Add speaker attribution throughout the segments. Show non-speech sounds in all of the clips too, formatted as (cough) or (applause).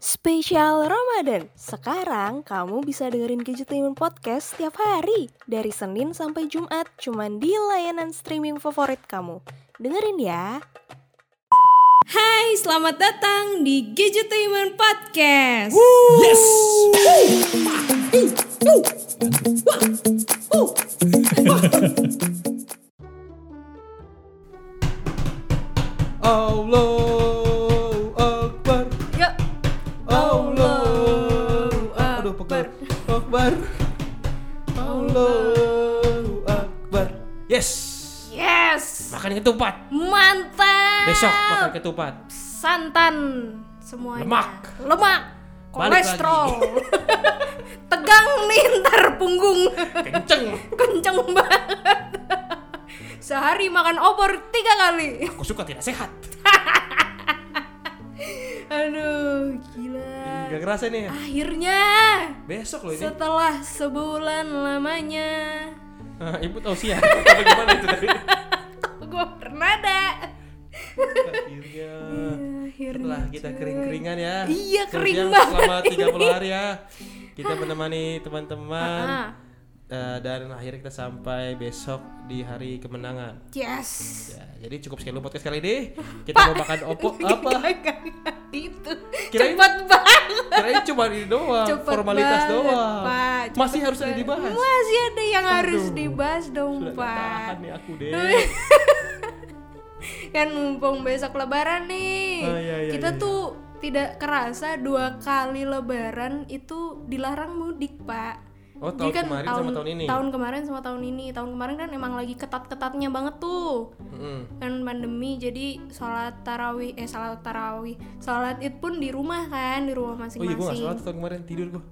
Speaker 1: Spesial Ramadan. Sekarang kamu bisa dengerin Gadgetainment Podcast setiap hari dari Senin sampai Jumat cuman di layanan streaming favorit kamu. Dengerin ya. Hai, selamat datang di Gadgetainment Podcast.
Speaker 2: Yes. Allah Akbar.
Speaker 1: Yuk.
Speaker 2: Allah
Speaker 1: Allahu
Speaker 2: Aduh
Speaker 1: Akbar.
Speaker 2: pegel. Akbar. Allah Akbar. Yes.
Speaker 1: Yes.
Speaker 2: Makan ketupat.
Speaker 1: Mantap.
Speaker 2: Besok makan ketupat.
Speaker 1: Santan semuanya.
Speaker 2: Lemak.
Speaker 1: Lemak.
Speaker 2: Balik lagi.
Speaker 1: Kolesterol. (laughs) Tegang nih ntar punggung. (laughs)
Speaker 2: Kenceng.
Speaker 1: kenceng banget sehari makan opor tiga kali
Speaker 2: Aku suka tidak sehat.
Speaker 1: aduh gila
Speaker 2: Gak kerasa nih. ya.
Speaker 1: Ah. akhirnya
Speaker 2: Besok loh ini.
Speaker 1: setelah sebulan lamanya
Speaker 2: Eh, Ibu tausiah. (laughs) Apa gimana itu tadi?
Speaker 1: gue pernah ada
Speaker 2: Akhirnya.
Speaker 1: Iya, akhirnya
Speaker 2: Setelah kita kering-keringan ya.
Speaker 1: Iya, kering
Speaker 2: Kerja
Speaker 1: banget
Speaker 2: Selama
Speaker 1: ini.
Speaker 2: 30 hari ya. Kita menemani teman-teman.
Speaker 1: Ah,
Speaker 2: Eh, dan akhirnya kita sampai besok di hari kemenangan.
Speaker 1: yes
Speaker 2: Ya, jadi cukup sekian dulu podcast kali ini. Kita mau makan
Speaker 1: (laughs)
Speaker 2: opo apa?
Speaker 1: Gak- gak itu
Speaker 2: Kirain-
Speaker 1: cepat gitu. banget
Speaker 2: Kirain cuma ini doang,
Speaker 1: Cepet
Speaker 2: formalitas
Speaker 1: banget,
Speaker 2: doang.
Speaker 1: Pak. Cepet
Speaker 2: Masih harus ada dibahas.
Speaker 1: masih ada yang harus
Speaker 2: Aduh.
Speaker 1: dibahas dong
Speaker 2: Sudah gak tahan
Speaker 1: pak Iya.
Speaker 2: nih aku deh.
Speaker 1: (laughs) kan mumpung besok lebaran nih
Speaker 2: Ah, iya, iya,
Speaker 1: kita
Speaker 2: iya, iya.
Speaker 1: tuh tidak kerasa dua kali lebaran itu dilarang mudik pak
Speaker 2: Oh,
Speaker 1: Jadi kan
Speaker 2: tahun kemarin sama tahun ini?
Speaker 1: tahun kemarin sama tahun ini tahun kemarin kan emang lagi ketat-ketatnya banget tuh
Speaker 2: Mm-mm.
Speaker 1: kan pandemi jadi sholat tarawih eh sholat tarawih sholat id pun di rumah kan di rumah
Speaker 2: Oh iya, gue gak
Speaker 1: masing-masing
Speaker 2: sholat tahun kemarin, tidur gue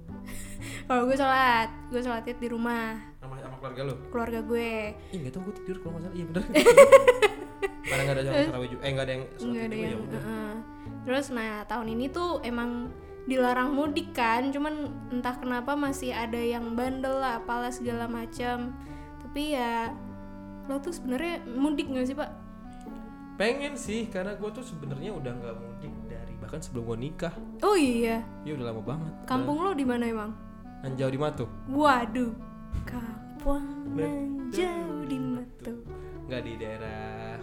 Speaker 1: kalau gue sholat gue sholat id di rumah
Speaker 2: sama, sama keluarga lo.
Speaker 1: keluarga gue
Speaker 2: Ih, gak tau gue tidur kalau gak salah. Iya
Speaker 1: (laughs)
Speaker 2: bener. Karena gak ada yang terawih juga. Eh, gak ada yang sholat
Speaker 1: Nggak ada
Speaker 2: itu ya
Speaker 1: yang-
Speaker 2: udah.
Speaker 1: heeh. Terus nah tahun ini tuh emang dilarang mudik kan, cuman entah kenapa masih ada yang bandel lah, apalah segala macam. Tapi ya lo tuh sebenarnya mudik gak sih pak?
Speaker 2: Pengen sih, karena gue tuh sebenarnya udah gak mudik dari bahkan sebelum gue nikah.
Speaker 1: Oh iya,
Speaker 2: Iya udah lama banget.
Speaker 1: kampung lo di mana emang?
Speaker 2: Anjau di Matu.
Speaker 1: Waduh, kampung nan jauh di mata.
Speaker 2: nggak di daerah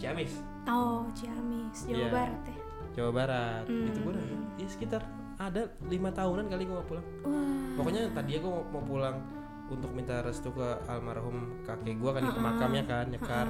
Speaker 2: Ciamis
Speaker 1: Oh Ciamis, Jawa
Speaker 2: Iya.
Speaker 1: Barat ya.
Speaker 2: Jawa Barat
Speaker 1: Hmm.
Speaker 2: itu gue udah ya sekitar ada lima tahunan kali gue gak pulang
Speaker 1: Wah,
Speaker 2: pokoknya tadi gue mau, mau pulang untuk minta restu ke almarhum kakek gue kan di makamnya kan nyekar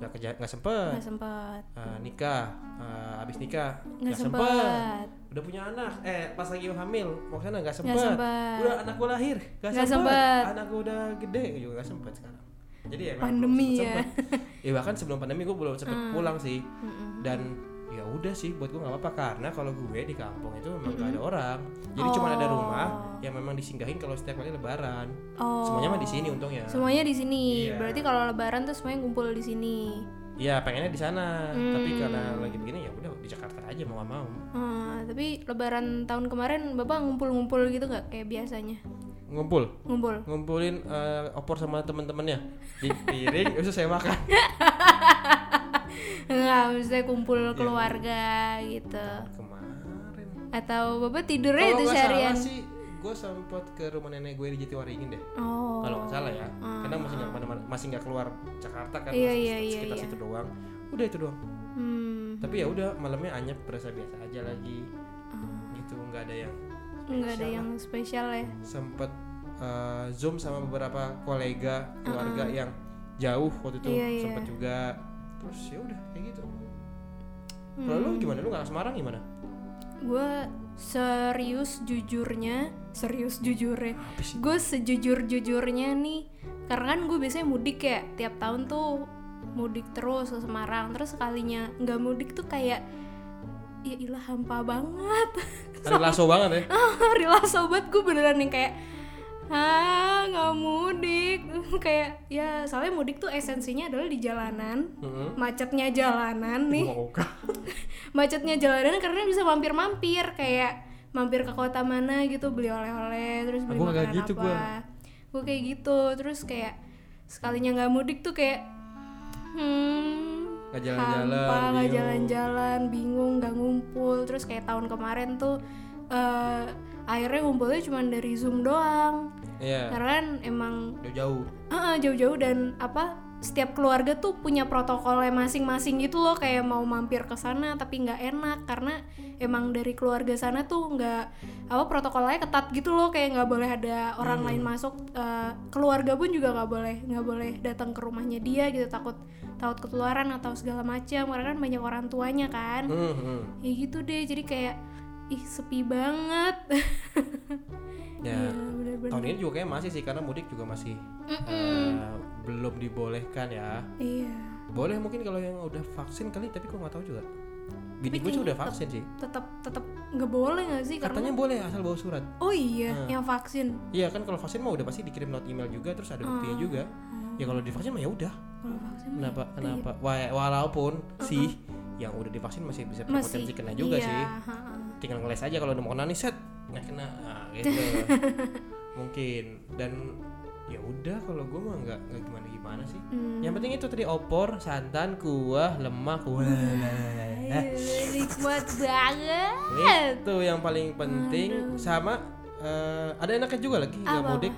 Speaker 2: nggak keja- nggak sempet
Speaker 1: nggak sempet,
Speaker 2: Eh, nikah Eh, abis nikah
Speaker 1: nggak
Speaker 2: nggak sempet
Speaker 1: sempet,
Speaker 2: udah punya anak eh pas lagi hamil mau kesana nggak sempet.
Speaker 1: nggak sempet.
Speaker 2: udah anak gue lahir nggak
Speaker 1: Nggak
Speaker 2: sempet.
Speaker 1: sempet.
Speaker 2: anak gue udah gede juga nggak sempet sekarang jadi ya memang belum
Speaker 1: Pandemi ya. Hmm.
Speaker 2: sempet-sempet.
Speaker 1: (laughs)
Speaker 2: ya bahkan sebelum pandemi gue belum sempet pulang sih
Speaker 1: Mm-mm.
Speaker 2: dan ya udah sih buat gue nggak apa-apa karena kalau gue di kampung itu memang nggak ada orang jadi cuma ada
Speaker 1: Hmm. Oh.
Speaker 2: rumah yang memang disinggahin kalau setiap kali lebaran
Speaker 1: Oh.
Speaker 2: semuanya mah di sini untungnya
Speaker 1: Semuanya di sini.
Speaker 2: Iya.
Speaker 1: Berarti kalau lebaran tuh semuanya ngumpul di sini.
Speaker 2: ya pengennya di sana
Speaker 1: Hmm.
Speaker 2: tapi karena lagi begini ya udah di Jakarta aja mau nggak mau
Speaker 1: Ah, tapi lebaran tahun kemarin Bapak ngumpul-ngumpul gitu nggak kayak biasanya?
Speaker 2: ngumpul
Speaker 1: Ngumpul. (laughs)
Speaker 2: ngumpulin eh, opor sama temen-temennya di piring terus saya makan
Speaker 1: Enggak, maksudnya kumpul
Speaker 2: Iya.
Speaker 1: keluarga gitu.
Speaker 2: kemarin
Speaker 1: Atau Bapak tidurnya
Speaker 2: kalau
Speaker 1: itu
Speaker 2: nggak
Speaker 1: seharian.
Speaker 2: salah sih gue sempat ke rumah nenek gue di Jatiwaringin deh
Speaker 1: Oh.
Speaker 2: kalau nggak salah ya karena masih nggak mana-mana- masih nggak keluar Jakarta kan
Speaker 1: Iya,
Speaker 2: masih
Speaker 1: iya, iya,
Speaker 2: sekitar
Speaker 1: iya.
Speaker 2: situ doang udah itu doang
Speaker 1: Hmm.
Speaker 2: tapi ya udah malamnya anyep berasa biasa aja lagi
Speaker 1: Ah.
Speaker 2: gitu nggak ada yang
Speaker 1: Enggak ada yang spesial ya.
Speaker 2: sempet eh, zoom sama beberapa kolega keluarga yang jauh waktu itu
Speaker 1: Ah, Iya, iya.
Speaker 2: sempet juga terus ya udah kayak gitu kalau
Speaker 1: Hmm.
Speaker 2: lu gimana lu nggak ke Semarang gimana
Speaker 1: Gue serius jujurnya, serius jujurnya.
Speaker 2: apa sih
Speaker 1: gue sejujur-jujurnya nih karena kan gue biasanya mudik ya tiap tahun tuh mudik terus ke Semarang terus sekalinya nggak mudik tuh kayak ya ilah hampa banget (laughs)
Speaker 2: ada laso banget ya
Speaker 1: rela sobat gue beneran yang kayak ah nggak mudik (laughs) kayak ya soalnya mudik tuh esensinya adalah di jalanan
Speaker 2: Heeh.
Speaker 1: macetnya jalanan nih
Speaker 2: mau ke
Speaker 1: macetnya jalanan karena bisa mampir-mampir kayak mampir ke kota mana gitu beli oleh-oleh terus beli
Speaker 2: Aku nggak
Speaker 1: makanan
Speaker 2: gitu,
Speaker 1: apa
Speaker 2: gua.
Speaker 1: Gua kayak gitu terus kayak sekalinya nggak mudik tuh kayak hmm
Speaker 2: Nggak jalan-jalan,
Speaker 1: hampa, nggak
Speaker 2: bingung.
Speaker 1: jalan-jalan bingung nggak ngumpul terus kayak tahun kemarin tuh eh, akhirnya ngumpulnya cuma dari zoom doang
Speaker 2: Iya.
Speaker 1: karena kan emang
Speaker 2: Jauh-jauh.
Speaker 1: eh, eh, jauh-jauh dan apa setiap keluarga tuh punya protokolnya masing-masing gitu loh kayak mau mampir ke sana tapi nggak enak karena emang dari keluarga sana tuh nggak apa protokolnya ketat gitu loh kayak nggak boleh ada orang
Speaker 2: Hmm.
Speaker 1: lain masuk eh, keluarga pun juga nggak boleh nggak boleh datang ke rumahnya dia gitu takut takut ketularan atau segala macam karena kan banyak orang tuanya kan
Speaker 2: Hmm, hmm.
Speaker 1: ya gitu deh jadi kayak ih sepi banget
Speaker 2: Ya.
Speaker 1: (laughs) Iya, bener-bener.
Speaker 2: Tahun ini juga kayak masih sih karena mudik juga masih
Speaker 1: Mm.
Speaker 2: eh, belum dibolehkan ya.
Speaker 1: iya
Speaker 2: Boleh mungkin kalau yang udah vaksin kali tapi gua nggak tahu juga. Bini gue
Speaker 1: kayaknya
Speaker 2: udah
Speaker 1: tetep-
Speaker 2: vaksin sih.
Speaker 1: tetap tetap nggak boleh nggak sih
Speaker 2: Katanya Hmm.
Speaker 1: karena kan,
Speaker 2: boleh asal bawa surat.
Speaker 1: oh iya yang vaksin
Speaker 2: Iya kan kalau vaksin mah udah pasti dikirim not email juga terus ada buktinya
Speaker 1: Oh.
Speaker 2: juga. Ya kalau divaksin mah ya udah.
Speaker 1: kalau vaksin
Speaker 2: Kenapa kenapa Wa- walaupun sih yang udah divaksin masih bisa
Speaker 1: masih
Speaker 2: berpotensi kena juga
Speaker 1: iya,
Speaker 2: sih.
Speaker 1: ha, ha.
Speaker 2: Tinggal ngeles aja kalau udah mau kena nih set nggak kena Nah, gitu. Mungkin dan ya udah kalau gue mah nggak nggak gimana gimana sih.
Speaker 1: Hmm.
Speaker 2: Yang penting itu tadi opor, santan, kuah, lemak, kuah.
Speaker 1: Aduh, nikmat Iya, banget
Speaker 2: itu
Speaker 1: Iya.
Speaker 2: yang paling penting sama eh, ada enaknya juga lagi nggak
Speaker 1: Apa-apa?
Speaker 2: mudik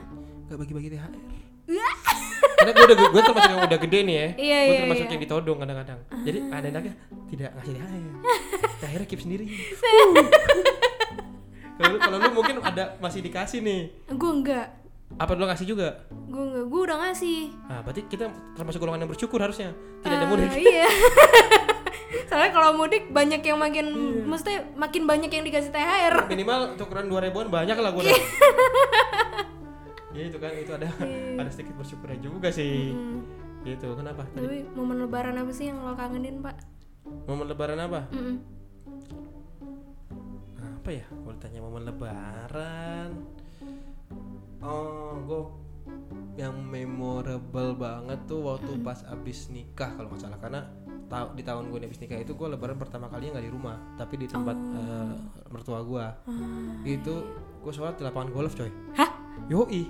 Speaker 2: nggak bagi-bagi THR karena gue udah gue termasuk yang udah gede nih ya
Speaker 1: Iya,
Speaker 2: gue
Speaker 1: iya,
Speaker 2: termasuk
Speaker 1: iya.
Speaker 2: yang ditodong kadang-kadang jadi ada enaknya tidak ngasih THR THR keep sendiri kalau lu kalau lu mungkin ada masih dikasih nih
Speaker 1: gue enggak
Speaker 2: apa lu ngasih juga
Speaker 1: gue enggak gue udah ngasih
Speaker 2: nah berarti kita termasuk golongan yang bersyukur harusnya tidak ada
Speaker 1: Eh,
Speaker 2: mudik
Speaker 1: iya (laughs) soalnya kalau mudik banyak yang makin
Speaker 2: Iya.
Speaker 1: mesti makin banyak yang dikasih thr
Speaker 2: minimal tukeran dua ribuan banyak
Speaker 1: Iya.
Speaker 2: lah gue udah ya itu kan itu ada
Speaker 1: Iya.
Speaker 2: ada sedikit bersyukur aja juga sih gitu kenapa tadi
Speaker 1: tapi momen lebaran apa sih yang lo kangenin pak
Speaker 2: momen lebaran apa
Speaker 1: Mm-mm.
Speaker 2: apa ya kalau ditanya momen lebaran oh gue yang memorable banget tuh waktu pas abis nikah kalau nggak salah karena ta- di tahun gue abis nikah itu gue lebaran pertama kalinya nggak di rumah tapi di tempat
Speaker 1: Oh.
Speaker 2: eh, mertua gue itu gue sholat di lapangan golf coy
Speaker 1: Ah, iya. hah
Speaker 2: yoi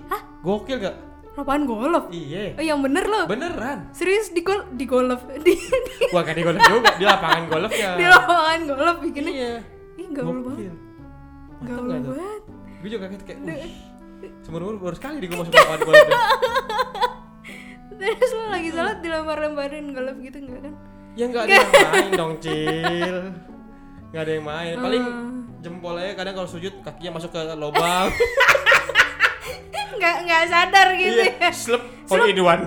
Speaker 2: gokil gak
Speaker 1: lapangan golf
Speaker 2: iya
Speaker 1: oh yang bener lo
Speaker 2: beneran
Speaker 1: serius di gol di golf (laughs) di di,
Speaker 2: gua gak di golf juga di lapangan golf ya
Speaker 1: di lapangan golf bikinnya
Speaker 2: iya
Speaker 1: ih gaul banget
Speaker 2: gokil
Speaker 1: gaul
Speaker 2: nggak tuh?
Speaker 1: banget
Speaker 2: gue juga kaget kayak wih seumur umur baru sekali di gue masuk lapangan golf ya.
Speaker 1: (laughs) terus lo lagi salat dilempar-lemparin golf gitu enggak kan (laughs)
Speaker 2: ya nggak ada yang main dong cil nggak ada yang main paling
Speaker 1: Ah.
Speaker 2: jempolnya kadang kalau sujud kakinya masuk ke lubang
Speaker 1: nggak nggak sadar (laughs) gitu
Speaker 2: iya
Speaker 1: ya (laughs)
Speaker 2: slep all in one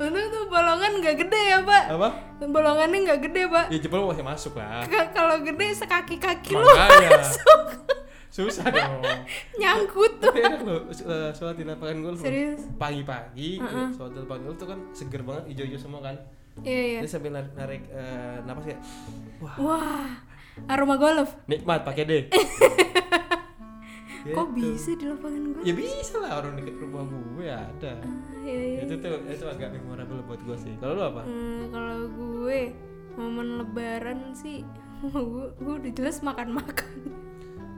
Speaker 1: untung tuh bolongan nggak gede ya pak
Speaker 2: apa
Speaker 1: bolongannya nggak gede pak
Speaker 2: ya jempol masih masuk lah
Speaker 1: K- kalau gede sekaki kaki lo (laughs)
Speaker 2: makanya susah dong
Speaker 1: nyangkut tuh
Speaker 2: tapi (laughs) enak loh s- eh, sholat di lapangan golf loh.
Speaker 1: serius
Speaker 2: pagi-pagi sholat di lapangan golf tuh kan seger banget hijau-hijau semua kan
Speaker 1: iya iya
Speaker 2: Dia sambil narik, narik eh, napas kayak wah
Speaker 1: wah aroma golf
Speaker 2: nikmat pakai
Speaker 1: (laughs)
Speaker 2: deh.
Speaker 1: kok bisa di lapangan golf
Speaker 2: Ya bisa lah orang deket rumah gue ya ada.
Speaker 1: iya iya
Speaker 2: Itu tuh itu agak memorable buat gue sih. Kalau lu apa?
Speaker 1: Hmm, kalau gue momen lebaran sih (laughs) gue, gue udah jelas makan-makan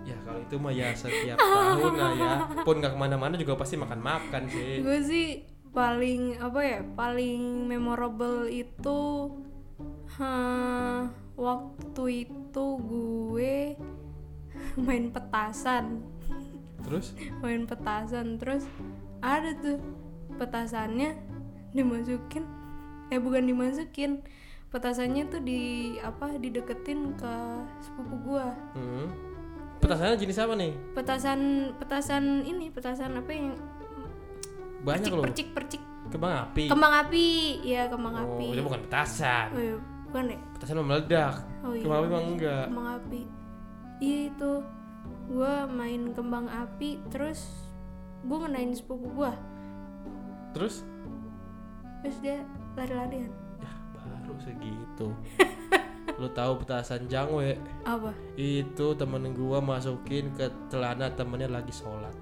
Speaker 2: Ya kalau itu mah ya setiap tahun lah ya. Pun nggak kemana-mana juga pasti makan-makan sih.
Speaker 1: gue sih paling apa ya paling memorable itu ha, waktu itu gue (laughs) main petasan
Speaker 2: Terus
Speaker 1: main petasan terus ada tuh petasannya dimasukin eh bukan dimasukin petasannya tuh di apa dideketin ke sepupu gua
Speaker 2: hmm. petasannya jenis apa nih?
Speaker 1: petasan petasan ini petasan apa yang
Speaker 2: Banyak
Speaker 1: percik
Speaker 2: loh.
Speaker 1: percik percik
Speaker 2: Kembang api.
Speaker 1: kembang api ya kembang
Speaker 2: oh,
Speaker 1: api
Speaker 2: itu bukan petasan.
Speaker 1: oh, iya. bukan deh
Speaker 2: Petasan mah meledak.
Speaker 1: Oh, iya.
Speaker 2: Kembang api mah enggak.
Speaker 1: kembang api iya itu gua main kembang api terus gua ngenain sepupu gua
Speaker 2: Terus
Speaker 1: terus dia lari-larian
Speaker 2: ya baru
Speaker 1: (laughs)
Speaker 2: segitu. lu tahu petasan jangwe?
Speaker 1: apa
Speaker 2: itu temen gua masukin ke celana temennya lagi sholat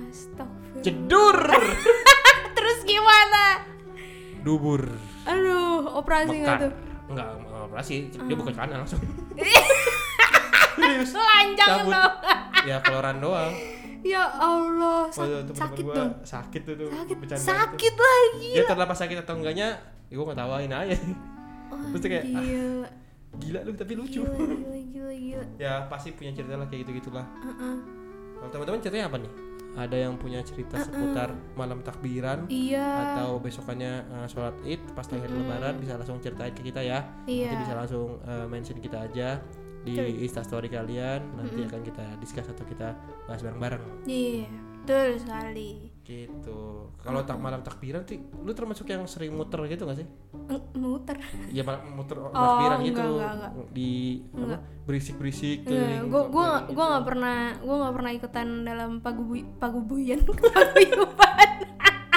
Speaker 1: Astagfirullah.
Speaker 2: cedur
Speaker 1: (laughs) Terus gimana?
Speaker 2: dubur
Speaker 1: Aduh, operasi nggak
Speaker 2: mekar
Speaker 1: tuh? Ah.
Speaker 2: enggak enggak operasi dia bukan celana langsung (laughs) Serius.
Speaker 1: Telanjang
Speaker 2: Cabut.
Speaker 1: dong.
Speaker 2: ya koloran doang
Speaker 1: (laughs) ya Allah, sak-
Speaker 2: Waktu itu Oh, iya, temen-temen
Speaker 1: sakit
Speaker 2: gua
Speaker 1: dong.
Speaker 2: sakit tuh tuh
Speaker 1: Sakit,
Speaker 2: bercanda gitu. itu.
Speaker 1: sakit lagi.
Speaker 2: dia terlepas sakit atau enggaknya ya gua ngetawain aja Iya. terus dia kayak ah,
Speaker 1: Gila.
Speaker 2: (laughs) gila lu tapi lucu
Speaker 1: Gila, gila, gila, gila.
Speaker 2: ya pasti punya cerita lah kayak gitu gitulah
Speaker 1: Heeh.
Speaker 2: kalau teman-teman ceritanya apa nih ada yang punya cerita seputar malam takbiran
Speaker 1: Iya.
Speaker 2: atau besokannya uh, sholat id pas terakhir lebaran bisa langsung ceritain ke kita ya
Speaker 1: Iya.
Speaker 2: nanti bisa langsung uh, mention kita aja di
Speaker 1: Betul.
Speaker 2: instastory kalian nanti akan kita discuss atau kita bahas bareng-bareng
Speaker 1: Iya. Betul sekali.
Speaker 2: gitu kalau tak malam takbiran sih lu termasuk yang sering muter gitu gak sih
Speaker 1: Eng, Muter.
Speaker 2: ya mal- muter takbiran
Speaker 1: Oh, enggak,
Speaker 2: gitu
Speaker 1: enggak, enggak.
Speaker 2: di apa berisik berisik
Speaker 1: Enggak, Iya, gua gua
Speaker 2: gitu.
Speaker 1: gua nggak pernah gua nggak pernah ikutan dalam pagubu (laughs) pagubuyan paguyuban.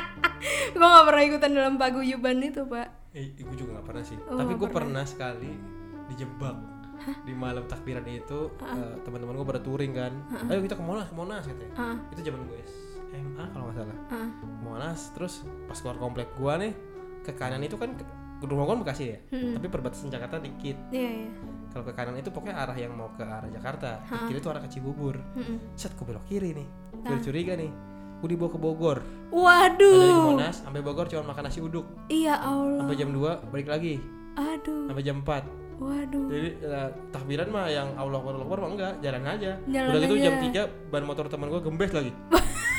Speaker 1: (laughs) gua nggak pernah ikutan dalam paguyuban itu pak.
Speaker 2: Eh, gue juga gak pernah sih.
Speaker 1: Oh,
Speaker 2: Tapi
Speaker 1: nggak
Speaker 2: gue pernah. sekali dijebak di malam takbiran itu eh, teman-teman gue pada touring kan. Ayo kita ke Monas, ke Monas katanya.
Speaker 1: Heeh.
Speaker 2: Itu zaman gue SMA kalau nggak salah.
Speaker 1: Heeh.
Speaker 2: Monas terus pas keluar komplek gue nih ke kanan itu kan ke- rumah gue Bekasi ya.
Speaker 1: Hmm.
Speaker 2: Tapi perbatasan Jakarta dikit.
Speaker 1: Iya iya.
Speaker 2: Kalau ke kanan itu pokoknya arah yang mau ke arah Jakarta. Ke kiri itu arah ke Cibubur.
Speaker 1: Mm-mm.
Speaker 2: Set gue belok kiri nih. Gue curiga nih. Gue dibawa ke Bogor. Dari
Speaker 1: Waduh.
Speaker 2: Monas sampai Bogor cuma makan nasi uduk.
Speaker 1: Iya Allah.
Speaker 2: Sampai jam 2 balik lagi.
Speaker 1: Aduh.
Speaker 2: Sampai jam 4
Speaker 1: Waduh.
Speaker 2: jadi eh, tahbiran mah yang Allah Akbar Allah Akbar mah enggak, jalan aja.
Speaker 1: Jalan
Speaker 2: Udah gitu
Speaker 1: aja.
Speaker 2: jam 3 ban motor teman gua gembes lagi.
Speaker 1: (laughs)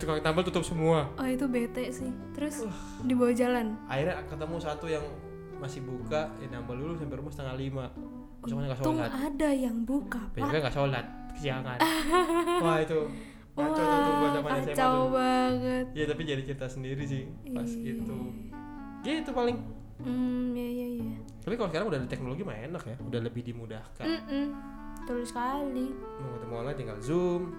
Speaker 2: Tukang tambal tutup semua.
Speaker 1: Oh itu bete sih. Terus dibawa jalan.
Speaker 2: Akhirnya ketemu satu yang masih buka, ya nambah dulu sampai rumah setengah lima. Besoknya nggak
Speaker 1: Untung
Speaker 2: sholat,
Speaker 1: ada yang buka pak.
Speaker 2: besoknya nggak sholat,
Speaker 1: (laughs)
Speaker 2: kesiangan. Wah itu
Speaker 1: Wah
Speaker 2: kacau tuh gua zaman SMA
Speaker 1: kacau
Speaker 2: tuh.
Speaker 1: banget.
Speaker 2: Iya tapi jadi cerita sendiri sih pas itu. Gitu paling.
Speaker 1: Hmm ya ya ya.
Speaker 2: Tapi kalau sekarang udah ada teknologi mah enak ya, udah lebih dimudahkan.
Speaker 1: Mm-mm. Betul sekali.
Speaker 2: Mau ketemu online tinggal zoom.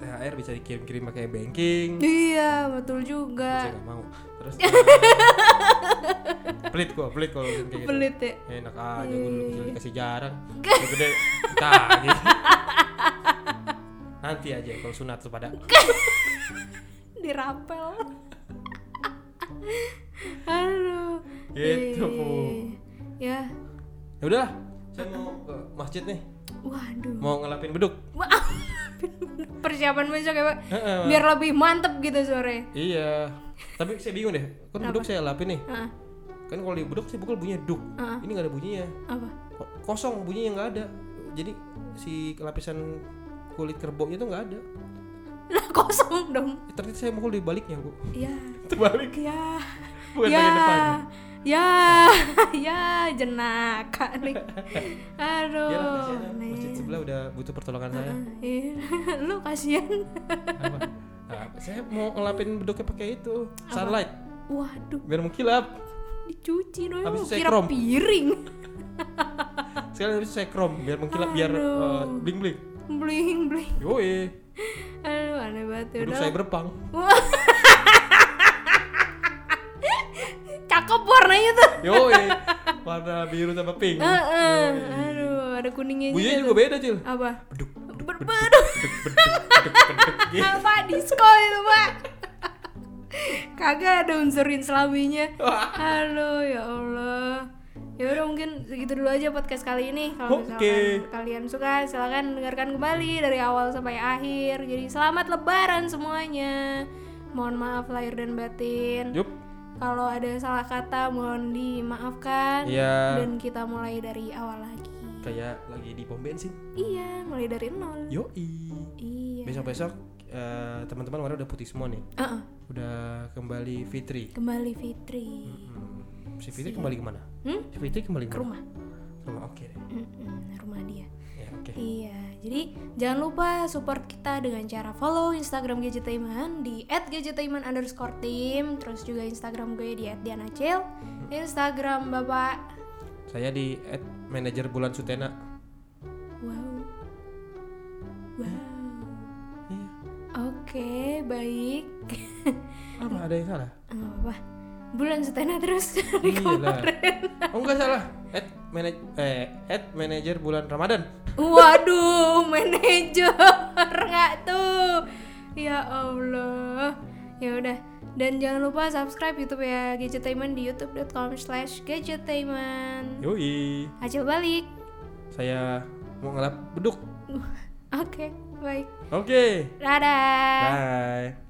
Speaker 2: THR bisa dikirim-kirim pakai banking.
Speaker 1: Iya betul
Speaker 2: saya
Speaker 1: juga.
Speaker 2: nggak mau
Speaker 1: (laughs)
Speaker 2: terus eh, pelit gua pelit kalau urusan kayak gitu
Speaker 1: Pelit Iya. ya.
Speaker 2: enak aja gua dulu kecil dikasih jarang Udah gede entah
Speaker 1: (laughs)
Speaker 2: gitu nanti aja kalau sunat tuh pada
Speaker 1: dirapel aduh
Speaker 2: Gitu, Bu.
Speaker 1: ya
Speaker 2: ya udah saya mau ke masjid nih
Speaker 1: waduh
Speaker 2: mau ngelapin beduk
Speaker 1: Wah, persiapan besok ya pak
Speaker 2: Heeh.
Speaker 1: biar lebih mantep gitu sore
Speaker 2: iya tapi saya bingung deh kan beduk saya lapin nih
Speaker 1: Heeh,
Speaker 2: kan kalau di beduk saya pukul bunyinya duk ini nggak ada bunyinya
Speaker 1: apa
Speaker 2: Ko- kosong bunyinya nggak ada jadi si lapisan kulit kerboknya tuh nggak ada Eh,
Speaker 1: lah kosong dong
Speaker 2: ternyata saya mukul di baliknya (laughs) bu
Speaker 1: ya
Speaker 2: terbalik
Speaker 1: ya
Speaker 2: bukan
Speaker 1: ya
Speaker 2: bagian depan
Speaker 1: ya ya jenaka nih
Speaker 2: Ya lah,
Speaker 1: aduh
Speaker 2: kasihan ya. masjid sebelah ya. udah butuh pertolongan saya.
Speaker 1: Ih, lu kasihan
Speaker 2: Apa? Nah, saya mau ngelapin beduknya pakai itu sunlight
Speaker 1: waduh
Speaker 2: biar mengkilap.
Speaker 1: dicuci dong
Speaker 2: Habis itu saya
Speaker 1: kira
Speaker 2: krom.
Speaker 1: piring
Speaker 2: Sekali habis itu saya krom biar mengkilap biar
Speaker 1: Aduh.
Speaker 2: bling bling.
Speaker 1: bling bling
Speaker 2: Yoi,
Speaker 1: aduh aneh banget ya.
Speaker 2: beduk
Speaker 1: udah
Speaker 2: saya berpang.
Speaker 1: Wah. cakep warnanya tuh
Speaker 2: Yoi, warna biru sama pink.
Speaker 1: Heeh. iya aduh ada kuningnya
Speaker 2: iya, Bunyinya
Speaker 1: juga
Speaker 2: juga beda cil.
Speaker 1: tuh. apa
Speaker 2: Beduk, beduk,
Speaker 1: Ber-
Speaker 2: beduk,
Speaker 1: aduh,
Speaker 2: beduk, beduk, beduk,
Speaker 1: (laughs)
Speaker 2: beduk, gitu.
Speaker 1: apa disco itu pak kagak ada unsur
Speaker 2: (laughs)
Speaker 1: islaminya halo ya allah ya udah mungkin segitu dulu aja podcast kali ini kalau
Speaker 2: Oke.
Speaker 1: misalkan kalian suka silahkan dengarkan kembali dari awal sampai akhir jadi selamat lebaran semuanya mohon maaf lahir dan batin
Speaker 2: Yup.
Speaker 1: Kalau ada salah kata mohon dimaafkan
Speaker 2: Iya,
Speaker 1: dan kita mulai dari awal lagi.
Speaker 2: kayak lagi di pom bensin.
Speaker 1: Iya, mulai dari nol.
Speaker 2: Yoi.
Speaker 1: Iya.
Speaker 2: Besok-besok eh, teman-teman warna udah putih semua nih.
Speaker 1: Ah, ah,
Speaker 2: Udah kembali fitri.
Speaker 1: kembali Fitri.
Speaker 2: Hmm, Si Fitri kembali kemana?
Speaker 1: Hmm?
Speaker 2: Si Fitri kembali
Speaker 1: Ke rumah.
Speaker 2: kemana? Rumah oke deh.
Speaker 1: Mm-mm, rumah dia.
Speaker 2: Ya oke.
Speaker 1: Iya. Jadi jangan lupa support kita dengan cara follow Instagram Gadgetaiman di @gadgetaiman underscore team. Terus juga Instagram gue di @dianacil. Instagram bapak.
Speaker 2: Saya di at manajer bulan Sutena.
Speaker 1: Wow. Wow.
Speaker 2: Iya.
Speaker 1: Oke, baik. (laughs)
Speaker 2: Apa ada yang salah?
Speaker 1: apa Eh, bulan setena terus (laughs)
Speaker 2: Iya kemarin. Oh enggak salah. At manaj eh at manajer bulan Ramadan.
Speaker 1: waduh manajer (laughs) nggak tuh ya allah ya udah dan jangan lupa subscribe YouTube ya Gadgetainment di youtube.com slash Gadgetainment
Speaker 2: Yoi.
Speaker 1: Acil balik
Speaker 2: Saya mau ngelap beduk.
Speaker 1: Oke, baik
Speaker 2: Oke.
Speaker 1: Dadah
Speaker 2: Bye.